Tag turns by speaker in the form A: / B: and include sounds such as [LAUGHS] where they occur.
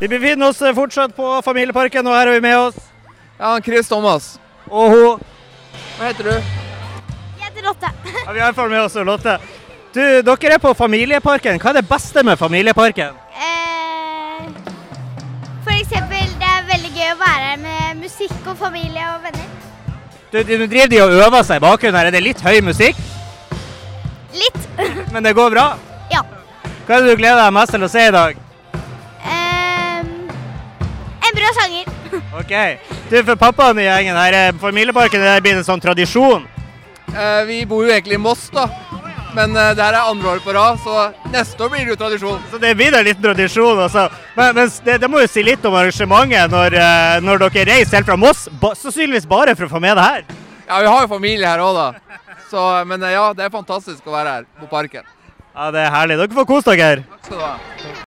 A: Vi befinner oss eh, fortsatt på Familieparken, og her har vi med oss
B: Ja, Chris Thomas.
A: og hun.
B: Hva heter du?
C: Jeg heter Lotte.
A: Ja, vi har iallfall med oss Lotte. Du, dere er på Familieparken. Hva er det beste med Familieparken?
C: [LAUGHS] Eh, For eksempel, det er veldig gøy å være her med musikk og familie og venner.
A: Du, du driver de og øver seg i bakgrunnen her. Er det litt høy musikk?
C: Litt. [LAUGHS]
A: Men det går bra?
C: ja.
A: Hva er det du gleder deg mest til å se i dag?
C: Eh, en bra sanger.
A: OK. Du, for pappaen i gjengen her, eh, Familieparken det blir en sånn tradisjon.
B: Eh, vi bor jo egentlig i Moss, da. Men eh, det her er andre året på rad, så neste år blir det jo tradisjon.
A: Så det blir en liten tradisjon, altså. Men, men s- det, det må jo si litt om arrangementet når, eh, når dere reiser helt fra Moss, ba, sannsynligvis bare for å få med det her.
B: Ja, vi har jo familie her òg, da. Så, men eh, ja, det er fantastisk å være her på parken.
A: Ja, det er herlig. Dere får kose dere.
B: Takk skal du ha.